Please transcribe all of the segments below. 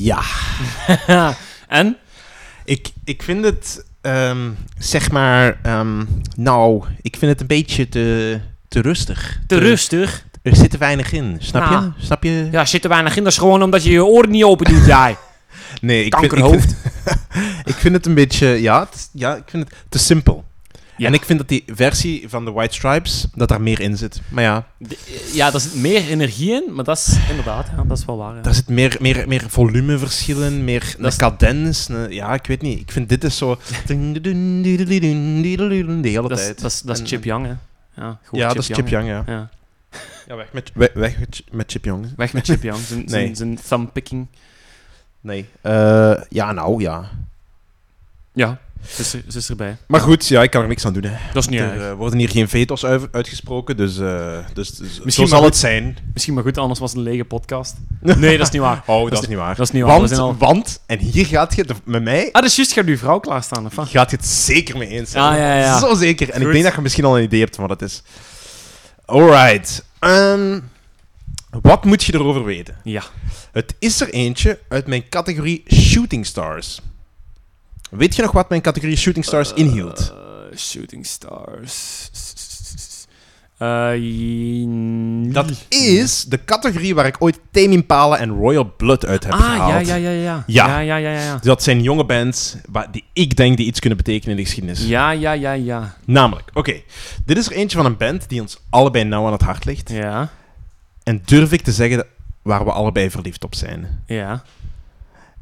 Ja, en? ik, ik vind het, ehm, zeg maar, ehm, nou, ik vind het een beetje te, te rustig. Te rustig. Er zit te weinig in, snap Nou. je? Snap je? Ja, zit er weinig in. Dat is gewoon omdat je je oren niet open doet, jij. Nee, ik vind, ik, Kankerhoofd. vind, ik vind het een beetje, ja, het is- ja, ik vind het te simpel. Ja. En ik vind dat die versie van de White Stripes, dat daar meer in zit. Maar ja, De- ja, daar zit meer energie in, maar dat is inderdaad, ja, dat is wel waar. ja. daar zit meer, meer, meer volumeverschillen, meer een Dat is- cadens. een- ja, ik weet niet. Ik vind dit is zo... De hele Dat is, tijd. dat is, dat En- is Chip Young, hè? Ja, goed, ja, dat is Chip Young, ja. hè. Ja. Ja, weg met, weg, weg met, met Chip Young. Weg met Chip Young, zijn, Nee. zijn, zijn thumbpicking. Nee. Eh, ja, nou, ja. Ja, ze is, er- ze is erbij. Maar goed, ja, ik kan er niks aan doen, hè. Dat is niet er erg. eh, worden hier geen veto's uit- uitgesproken, dus, eh, dus, dus zo Misschien zal maar- het zijn. Misschien maar goed, anders was het een lege podcast. Nee, dat is niet waar. Oh, dat, Dat is is niet waar. Dat is niet waar. Want, we zijn al... want, en hier gaat je het met mij Ah, dus juist gaat uw vrouw klaarstaan, of wat? gaat je het zeker mee eens zijn. Ah, ja, ja. Zo zeker. En ik Goed. denk dat je misschien al een idee hebt van wat het is. Alright. Ehm, wat moet je erover weten? Ja. Het is er eentje uit mijn categorie Shooting Stars. Weet je nog wat mijn categorie Shooting Stars inhield? Eh, shooting Stars. Eh, j- Dat is de categorie waar ik ooit Tame Impala en Royal Blood uit heb Ah, gehaald. ja, ja, ja, ja. Ja. Ja, ja, ja, ja. ja. Dus dat zijn jonge bands waar, die ik denk die iets kunnen betekenen in de geschiedenis. Ja, ja, ja, ja. Namelijk, oké, dit is er eentje van een band die ons allebei nauw aan het hart ligt. Ja, En durf ik te zeggen dat- waar we allebei verliefd op zijn. ja.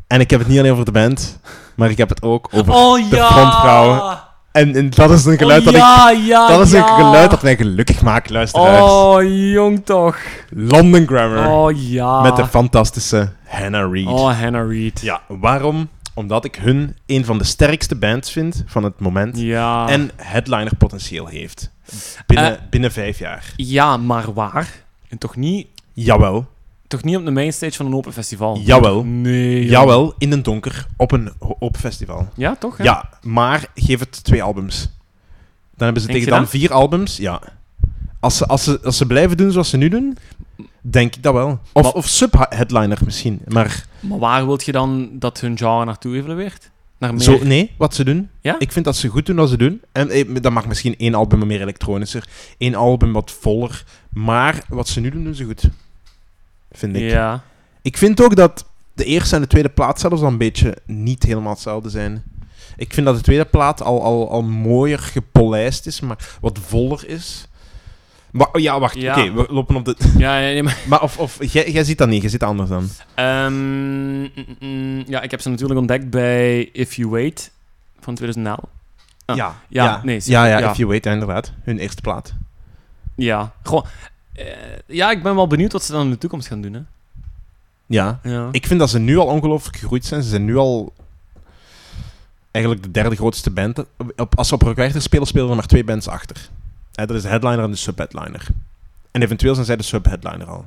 En ik heb het niet alleen over de band, maar ik heb het ook over... Oh de frontvrouw. En, en dat is een geluid, oh, dat, ja, ik, ja, dat, is ja. een geluid dat mij gelukkig maakt, luisteraars. Oh, jong toch. London Grammar, Oh, ja. met de fantastische Hannah Reid. Oh, Hannah Reid. Ja, waarom? Omdat ik hun een van de sterkste bands vind van het moment. Ja. En headliner potentieel heeft. Binnen, Eh. binnen vijf jaar. ja, maar waar? En toch niet, Jawel. toch niet op de mainstage van een open festival? Jawel. Nee. joh. Jawel, in den donker, op een ho- op festival. Ja, toch? hè? Ja, maar geef het twee albums. Dan hebben ze Denk tegen je dan dat? vier albums, ja. Als ze, als, ze, als ze blijven doen zoals ze nu doen, denk ik dat wel. Of, Maar- of sub-headliner misschien. Maar Maar waar wilt je dan dat hun genre naartoe evolueert? Naar meer... zo, nee, wat ze doen. Ja? Ik vind dat ze goed doen wat ze doen. En eh, dan mag misschien één album meer elektronischer, één album wat voller. Maar wat ze nu doen, doen ze goed. Vind ik. Ja. Ik vind ook dat de eerste en de tweede plaat zelfs al een beetje niet helemaal hetzelfde zijn. Ik vind dat de tweede plaat al, al, al mooier gepolijst is, maar wat voller is. Maar, oh ja, wacht. Ja. Oké, we lopen op de... Ja, ja, nee, maar... Maar of, of jij, jij ziet dat niet, jij ziet dat anders dan. Ehm, mm, mm, mm, ja, ik heb ze natuurlijk ontdekt bij If You Wait van 2011. Ah, ja. ja, ja. nee, zeker, ja, ja, ja. If You Wait, ja, inderdaad. Hun eerste plaat. Ja, gewoon. eh, ja, ik ben wel benieuwd wat ze dan in de toekomst gaan doen. Hè? Ja. Ja. Ik vind dat ze nu al ongelooflijk gegroeid zijn. Ze zijn nu al eigenlijk de derde grootste band. Op, als ze op Rock Werchter spelen, spelen er maar twee bands achter. Hè, dat is de headliner en de subheadliner. En eventueel zijn zij de subheadliner al.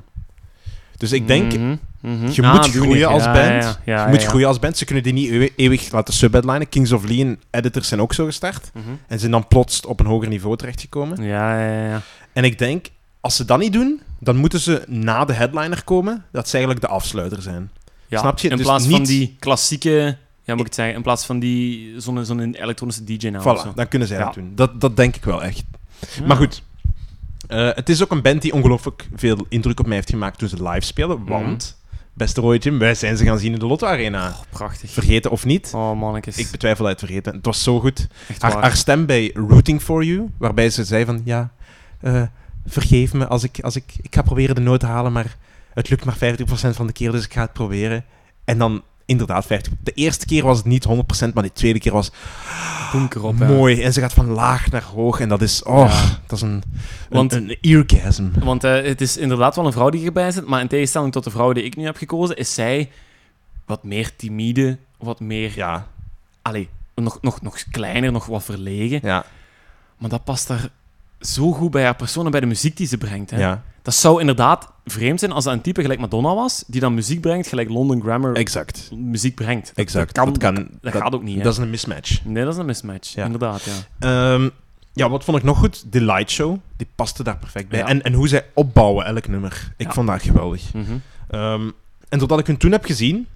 Dus ik denk, Mhm, mhm. je Ah, moet die groeien manier. als Ja, band. ja, ja, je moet ja, groeien als band. Ze kunnen die niet eeuwig, eeuwig laten subheadlinen. Kings of Lean editors zijn ook zo gestart. ja. Mhm. En zijn dan plots op een hoger niveau terechtgekomen. Ja, ja, ja. En ik denk, als ze dat niet doen, dan moeten ze na de headliner komen. Dat ze eigenlijk de afsluiter zijn. ja. Snap je? In Dus plaats van niet- die klassieke. Ja, moet ik het zeggen. In plaats van die. Zo'n zo'n elektronische DJ-naam. of zo. Voilà, dan kunnen zij dat Ja. doen. Dat, dat denk ik wel echt. Ja. Maar goed, eh, het is ook een band die ongelooflijk veel indruk op mij heeft gemaakt toen ze live spelen. Want, beste Roy Jim, wij zijn ze gaan zien in de Lotto Arena. Mhm. Oh, prachtig. Vergeten of niet? Oh, mannetjes. Ik betwijfel dat je het vergeten. Het was zo goed. Echt Haar, waar. haar stem bij Rooting For You, waarbij ze zei van, ja, eh, vergeef me als ik, als ik... Ik ga proberen de noot te halen, maar het lukt maar 50% van de keer, dus ik ga het proberen. En dan... Inderdaad, 50. De eerste keer was het niet 100%, maar die tweede keer was Bunker op, hè. Mooi. En ze gaat van laag naar hoog. En dat is... Oh, dat is een... Want- een, een eargasm. Want eh, het is inderdaad wel een vrouw die erbij zit. Maar in tegenstelling tot de vrouw die ik nu heb gekozen, is zij wat meer timide. Wat meer. Ja. Allee, nog, nog, nog kleiner, nog wat verlegen. Ja. Maar dat past daar zo goed bij haar persoon en bij de muziek die ze brengt. Hè? Ja. Dat zou inderdaad vreemd zijn als dat een type gelijk Madonna was, die dan muziek brengt gelijk London Grammar Exact. muziek brengt. Dat, Exact. Dat, Dat kan, dat, kan- dat dat- gaat ook niet. hè. Dat is een mismatch. Nee, dat is een mismatch. Ja. Inderdaad, ja. Ehm, ja, wat vond ik nog goed? De lightshow. Die paste daar perfect bij. Ja. En, en hoe zij opbouwen elk nummer. Ik Ja. vond dat geweldig. Mhm. Ehm, en doordat ik hun toen heb gezien,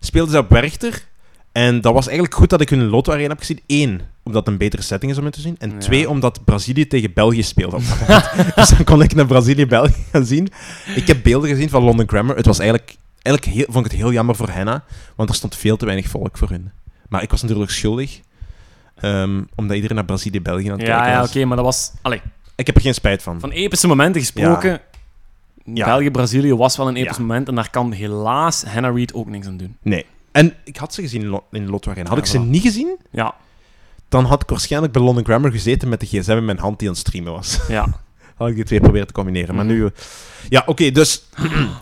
speelden ze op Werchter. En dat was eigenlijk goed dat ik hun Lotto Arena heb gezien. Eén, omdat het een betere setting is om in te zien. En Ja. twee, omdat Brazilië tegen België speelde. op dat moment. dus dan kon ik naar Brazilië-België gaan zien. Ik heb beelden gezien van London Grammar. Het was eigenlijk... Eigenlijk heel, vond ik het heel jammer voor Henna, want er stond veel te weinig volk voor hun. Maar ik was natuurlijk schuldig, ehm, omdat iedereen naar Brazilië-België aan het Ja, kijken ja was. oké, maar dat was... Allee, Ik heb er geen spijt van. van epische momenten gesproken... Ja. België-Brazilië was wel een episch Ja. moment en daar kan helaas Hannah Reid ook niks aan doen. Nee. En ik had ze gezien in Lo- in Lotto Arena. Had Ja, ik ze voilà. niet gezien, Ja, dan had ik waarschijnlijk bij London Grammar gezeten met de gsm in mijn hand die aan het streamen was. ja. Had ik die twee proberen te combineren. Mhm. Maar nu... eh, Ja, oké, dus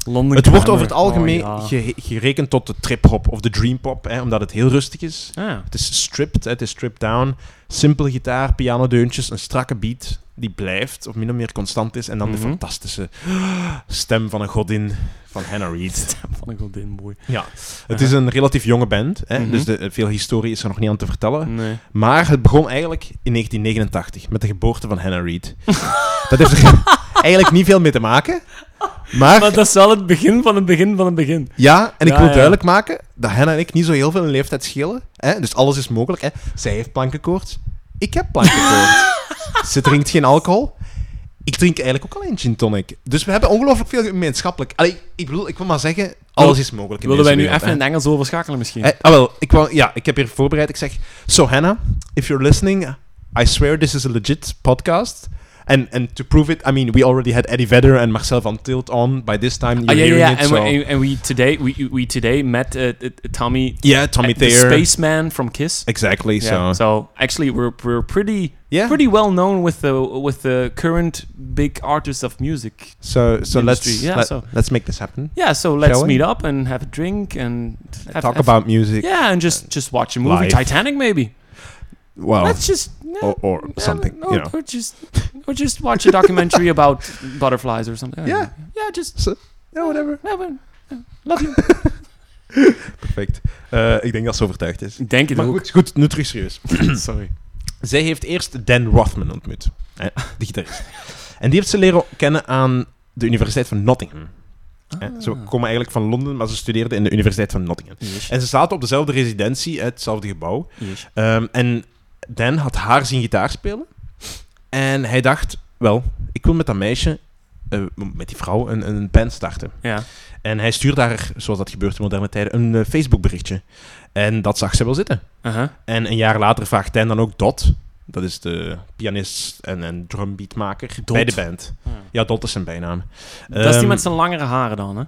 Londen het wordt over het Grammar. algemeen Oh, ja. ge- gerekend tot de trip-hop of de dream-pop, hè, omdat het heel rustig is. Ah, Ja. Het is stripped, hè, het is stripped down. Simpele gitaar, pianodeuntjes, een strakke beat die blijft of min of meer constant is. En dan Mhm. de fantastische stem van een godin van Hannah Reid. Stem van een godin, mooi. Ja, het is een relatief jonge band, hè, Mhm. dus de, veel historie is er nog niet aan te vertellen. Nee. Maar het begon eigenlijk in 1989 met de geboorte van Hannah Reid. Dat heeft er eigenlijk niet veel mee te maken. Maar, Maar dat is wel het begin van het begin van het begin. ja, en ik Ja, wil ja. duidelijk maken dat Hannah en ik niet zo heel veel in leeftijd schelen. Hè? Dus alles is mogelijk. Hè? Zij heeft plankenkoorts. Ik heb plankenkoorts. Ze drinkt geen alcohol. Ik drink eigenlijk ook alleen gin tonic. Dus we hebben ongelooflijk veel gemeenschappelijk. Allee, ik bedoel, ik wil maar zeggen, alles is mogelijk in Wilden wij deze nu wereld, even hè. in het Engels overschakelen misschien? Eh, ah, wel, ik, wou, ja, ik heb hier voorbereid. Ik zeg, so Hannah, if you're listening, I swear this is a legit podcast. And, and to prove it, I mean, we already had Eddie Vedder and Marcel van Tilt on by this time. You're ah, ja, ja, hearing ja. it, En we, so... en, en we today, we, we today met eh, eh, Tommy, eh, yeah, Tommy the Thayer. spaceman from Kiss. Exactly, Yeah. so... So actually, we're we're pretty Yeah, pretty well known with the with the current big artists of music. so, so let's, industry, yeah, let, so- let's make this happen. Yeah. So let's Shall we? meet up and have a drink and have, Talk have- about music. Yeah, and just just watch a movie, life. Titanic maybe. Well, Let's just yeah, or, or yeah, something, no, you know. Or just or just watch a documentary about butterflies or something. I don't Yeah. know. Yeah. Just Yeah, whatever. yeah, well, yeah, love you. Perfect. Eh, ik denk dat ze overtuigd is. Ik denk het Maar ook. goed, goed, nu terug serieus. Sorry. Zij heeft eerst Dan Rothman ontmoet, hè, de gitarist. En die heeft ze leren kennen aan de Universiteit van Nottingham. hè. Ze Ah. komen eigenlijk van Londen, maar ze studeerden in de Universiteit van Nottingham. Yes. En ze zaten op dezelfde residentie, hè, hetzelfde gebouw. Yes. Ehm, en Dan had haar zien gitaar spelen. En hij dacht, wel, ik wil met dat meisje, eh, met die vrouw, een, een band starten. Ja. En hij stuurde haar, zoals dat gebeurt in moderne tijden, een eh, Facebook-berichtje. En dat zag ze wel zitten. Uh-huh. En een jaar later vraagt Dan dan ook Dot. Dat is de pianist en, en drumbeatmaker Dot? bij de band. Ja, Dot is zijn bijnaam. Dat is die Ehm, met zijn langere haren dan, hè?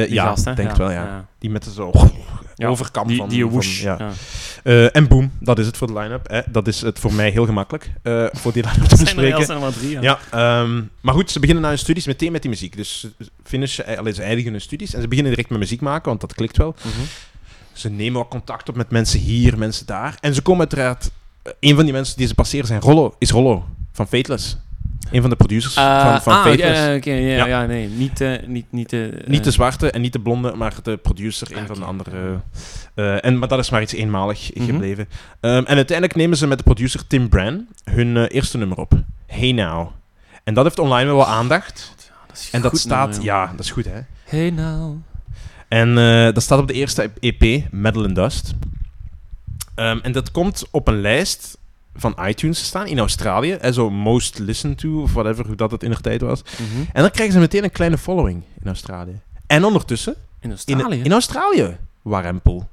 Eh, Die ja, gast, hè? denk het wel, ja. Die met de zo Ja, overkant Die, van... die van- woosh. ja. ja. Eh, en boom, dat is het voor de line-up. hè. Dat is het voor mij heel gemakkelijk, eh, voor die line-up te Zijn er, wel- bespreken. zijn er maar drie, ja. Ja, ehm, maar goed, ze beginnen na hun studies meteen met die muziek. Dus ze finishen, eh, allee, ze eindigen hun studies en ze beginnen direct met muziek maken, want dat klikt wel. Mhm. Ze nemen ook contact op met mensen hier, mensen daar. En ze komen uiteraard... eh, Een van die mensen die ze passeren zijn Rollo, is Rollo van Fateless. Een van de producers Eh, van, van ah, ja, Fateless. ja, oké, ja, Ja. ja, nee. Niet, eh, niet, niet, eh, Niet de eh, zwarte en niet de blonde, maar de producer, een Ah, van de oké. andere. eh, en, maar dat is maar iets eenmalig Mhm. gebleven. Ehm, en uiteindelijk nemen ze met de producer Tim Bran hun eh, eerste nummer op. Hey Now. En dat heeft online wel wat aandacht. dat is En dat goed staat... nummer, joh. ja, dat is goed, hè. Hey nou. now. En eh, dat staat op de eerste EP, Metal and Dust. Ehm, en dat komt op een lijst van iTunes te staan in Australië. En zo most listened to, of whatever, hoe dat het in de tijd was. Mhm. En dan krijgen ze meteen een kleine following in Australië. En ondertussen, in, In Australië? in Australië, warempel.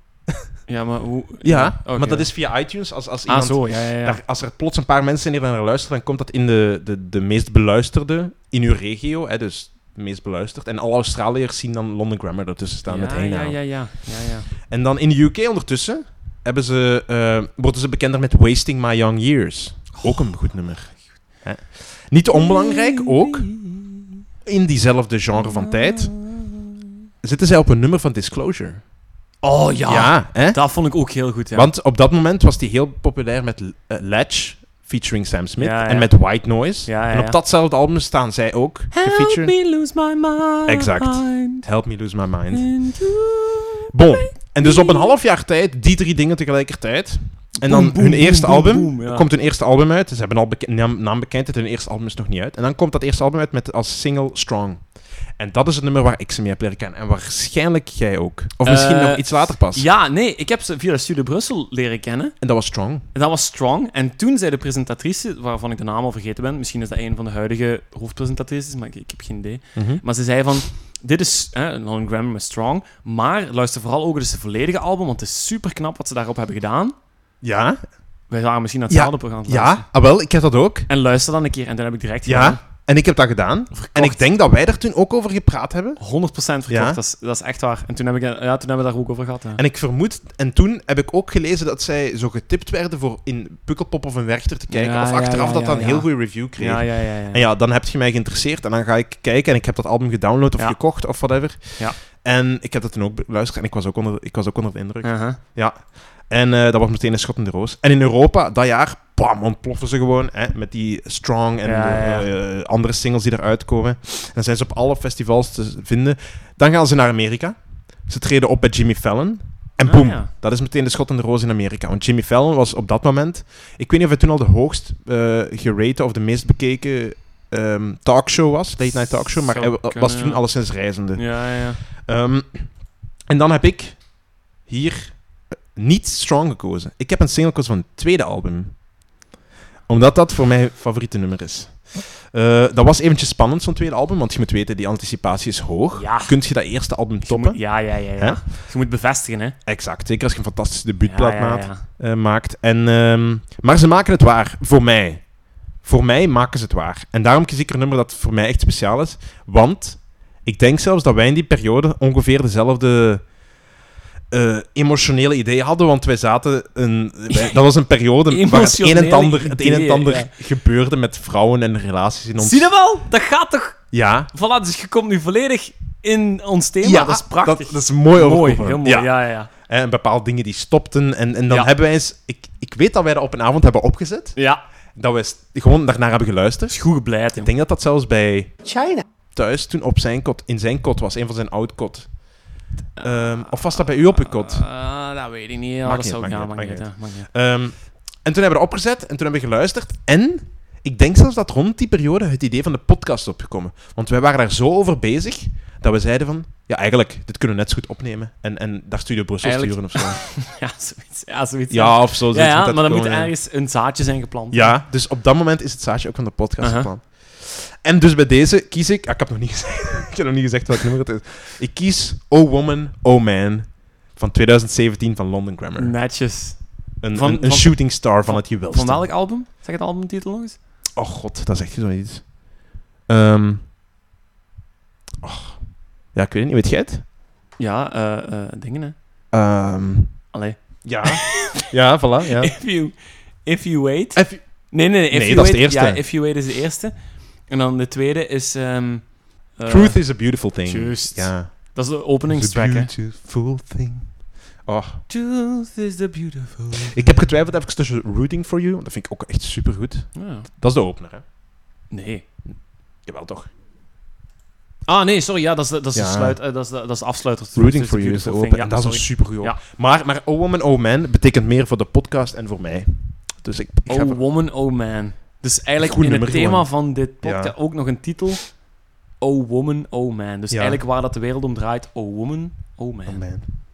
ja, maar hoe... Ja, oké, maar dat ja. is via iTunes. Als, als Ah, iemand, zo, ja, ja, ja. daar- als er plots een paar mensen hier naar luisteren, dan komt dat in de, de, de meest beluisterde in uw regio. Hè, dus de meest beluisterd. En alle Australiërs zien dan London Grammar ertussen staan ja, met één ja, naam. ja, ja, ja, ja. En dan in de UK ondertussen hebben ze, eh, worden ze bekender met Wasting My Young Years. Ook een goed nummer. Hè? Niet te onbelangrijk, ook in diezelfde genre van tijd, zitten zij op een nummer van Disclosure. Oh ja. hè? dat vond ik ook heel goed, ja. Want op dat moment was die heel populair met eh, Ledge, featuring Sam Smith, Ja, ja. en met White Noise. Ja, ja, En ja. op datzelfde album staan zij ook Help gefeatured. me lose my mind. Exact. Help Me Lose My Mind. And you- Bon. En dus op een half jaar tijd, die drie dingen tegelijkertijd. En dan Boom, boom, hun boom, eerste boom, album. boom, ja. Komt hun eerste album uit. Ze hebben al beke- naam- naambekendheid. Hun eerste album is nog niet uit. En dan komt dat eerste album uit met als single Strong. En dat is het nummer waar ik ze mee heb leren kennen. En waarschijnlijk jij ook. Of misschien Eh, nog iets later pas. Ja, nee, ik heb ze via Studio Brussel leren kennen. En dat was Strong. En dat was Strong. En toen zei de presentatrice, waarvan ik de naam al vergeten ben, misschien is dat een van de huidige hoofdpresentatrices, maar ik, ik heb geen idee. Maar ze zei van, dit is hè, een Alan Grammer met Strong, maar luister vooral ook eens het volledige album, want het is super knap wat ze daarop hebben gedaan. Ja, Wij waren misschien naar Ja, hetzelfde programma aan het luisteren. ja. Ah, wel, ik heb dat ook. En luister dan een keer. En dan heb ik direct Ja. gedaan. En ik heb dat gedaan. En ik denk dat wij daar toen ook over gepraat hebben. 100% verkocht. Ja. Dat, is, dat is echt waar. En toen, heb ik, ja, toen hebben we daar ook over gehad. hè. En ik vermoed, en toen heb ik ook gelezen dat zij zo getipt werden voor in Pukkelpop of een Werchter te kijken. Ja, of ja, achteraf ja, dat ja, dat een ja. heel goede review kreeg. ja, ja, ja, ja. En ja, dan heb je mij geïnteresseerd en dan ga ik kijken en ik heb dat album gedownload of Ja. gekocht of whatever. Ja. En ik heb dat toen ook beluisterd en ik was ook onder, ik was ook onder de indruk. Uh-huh. En eh, dat was meteen een schot in de roos. En in Europa, dat jaar, bam, ontploffen ze gewoon hè, met die Strong en Ja, de, ja, ja. eh, andere singles die eruit komen. En dan zijn ze op alle festivals te vinden. Dan gaan ze naar Amerika. Ze treden op bij Jimmy Fallon. En Ah, boem, ja. dat is meteen de schot in de roos in Amerika. Want Jimmy Fallon was op dat moment, ik weet niet of hij toen al de hoogst eh gerate of de meest bekeken ehm, talkshow was, late night talkshow, maar Zou hij wa- was kunnen, toen ja. alleszins reizende. Ja, ja, ja. Ehm, en dan heb ik hier eh, niet Strong gekozen. Ik heb een single gekozen van het tweede album. Omdat dat voor mij favoriete nummer is. Eh, dat was eventjes spannend, zo'n tweede album. Want je moet weten, die anticipatie is hoog. Ja. Kun je dat eerste album Je toppen? moet, ja, ja, ja. Hè? ja. Je moet bevestigen, hè. Exact. Zeker als je een fantastische debuutplaat ja, ja, maakt- ja. eh, maakt. En, ehm, maar ze maken het waar. Voor mij. Voor mij maken ze het waar. En daarom kies ik er een nummer dat voor mij echt speciaal is. Want ik denk zelfs dat wij in die periode ongeveer dezelfde eh, emotionele ideeën hadden. Want wij zaten... Een, wij- dat was een periode waar het een en het ander, het een en het Emotionele ander ideeën, gebeurde met vrouwen en relaties in ons... Zie je wel? Dat gaat toch... Ja. Voilà, dus je komt nu volledig in ons thema. ja, dat is prachtig. Dat, dat is mooi mooi, overkomen. heel mooi. Ja, ja, ja. Hè, En bepaalde dingen die stopten. En, en dan Ja. hebben wij eens... Ik, ik weet dat wij dat op een avond hebben opgezet. Ja, Dat wij st- gewoon daarnaar hebben geluisterd. dat is goed gebleid. Ik joh. denk dat dat zelfs bij China. thuis toen op zijn kot, in zijn kot was. Een van zijn oud kot. Ehm, of was dat bij u op uw kot? Ah, dat weet ik niet. Ja, Maakt dat niet zou uit, gaan. maakt maakt niet niet uit, ja, maakt niet uit. Ehm, en toen hebben we dat opgezet en toen hebben we geluisterd. En ik denk zelfs dat rond die periode het idee van de podcast is opgekomen. Want wij waren daar zo over bezig dat we zeiden van... Ja, eigenlijk, dit kunnen we net zo goed opnemen. En, en daar Studio Brussel Eigenlijk- sturen of zo. Ja, zoiets. Ja, zoiets. Ja, of zo. Ja, zoiets ja, dat maar dan moet komen, ja. ergens een zaadje zijn geplant. Ja, dus op dat moment is het zaadje ook van de podcast Aha. geplant. En dus bij deze kies ik... ah, ik heb nog niet gezegd, ik heb nog niet gezegd welk nummer het is. Ik kies Oh Woman, Oh Man van 2017 van London Grammar. Netjes. Een, Van- een, een van- shooting star van het juweel. Van welk album? Zeg het albumtitel nog eens. Oh god, dat zegt je zoiets. Ehm och. Ja, ik weet het niet. Weet jij het? Ja, eh, eh, dingen hè. Ehm, Allee. ja. ja, voilà. Ja. If, you, if You Wait. If You- Nee, nee, nee. If Nee, you dat is wait, de eerste. Ja, If You Wait is de eerste. En dan de tweede is... ehm, eh, Truth is a beautiful thing. juist. Ja. Dat is de It's a openingstrack, hè. beautiful thing. Oh, Truth is the beautiful... Ik heb getwijfeld even tussen Rooting for You, want dat vind ik ook echt supergoed. Ja. Dat is de opener, hè? Nee. Jawel, toch? Ah, nee, sorry. Ja, dat is de, dat is de, Ja. sluit, eh, dat is de, dat is de afsluiter. Truth Rooting the for You is de beautiful opener. thing. en dat sorry. is een supergoed Ja. opener. Maar, maar Oh Woman, Oh Man betekent meer voor de podcast en voor mij. Dus ik, ik ga Oh voor- Woman, Oh Man. Dus eigenlijk Goed in het nummer thema gewoon. van dit podcast Ja. ook nog een titel. Oh Woman, Oh Man. Dus Ja. eigenlijk waar dat de wereld om draait. Oh Woman, Oh Man. Oh Man.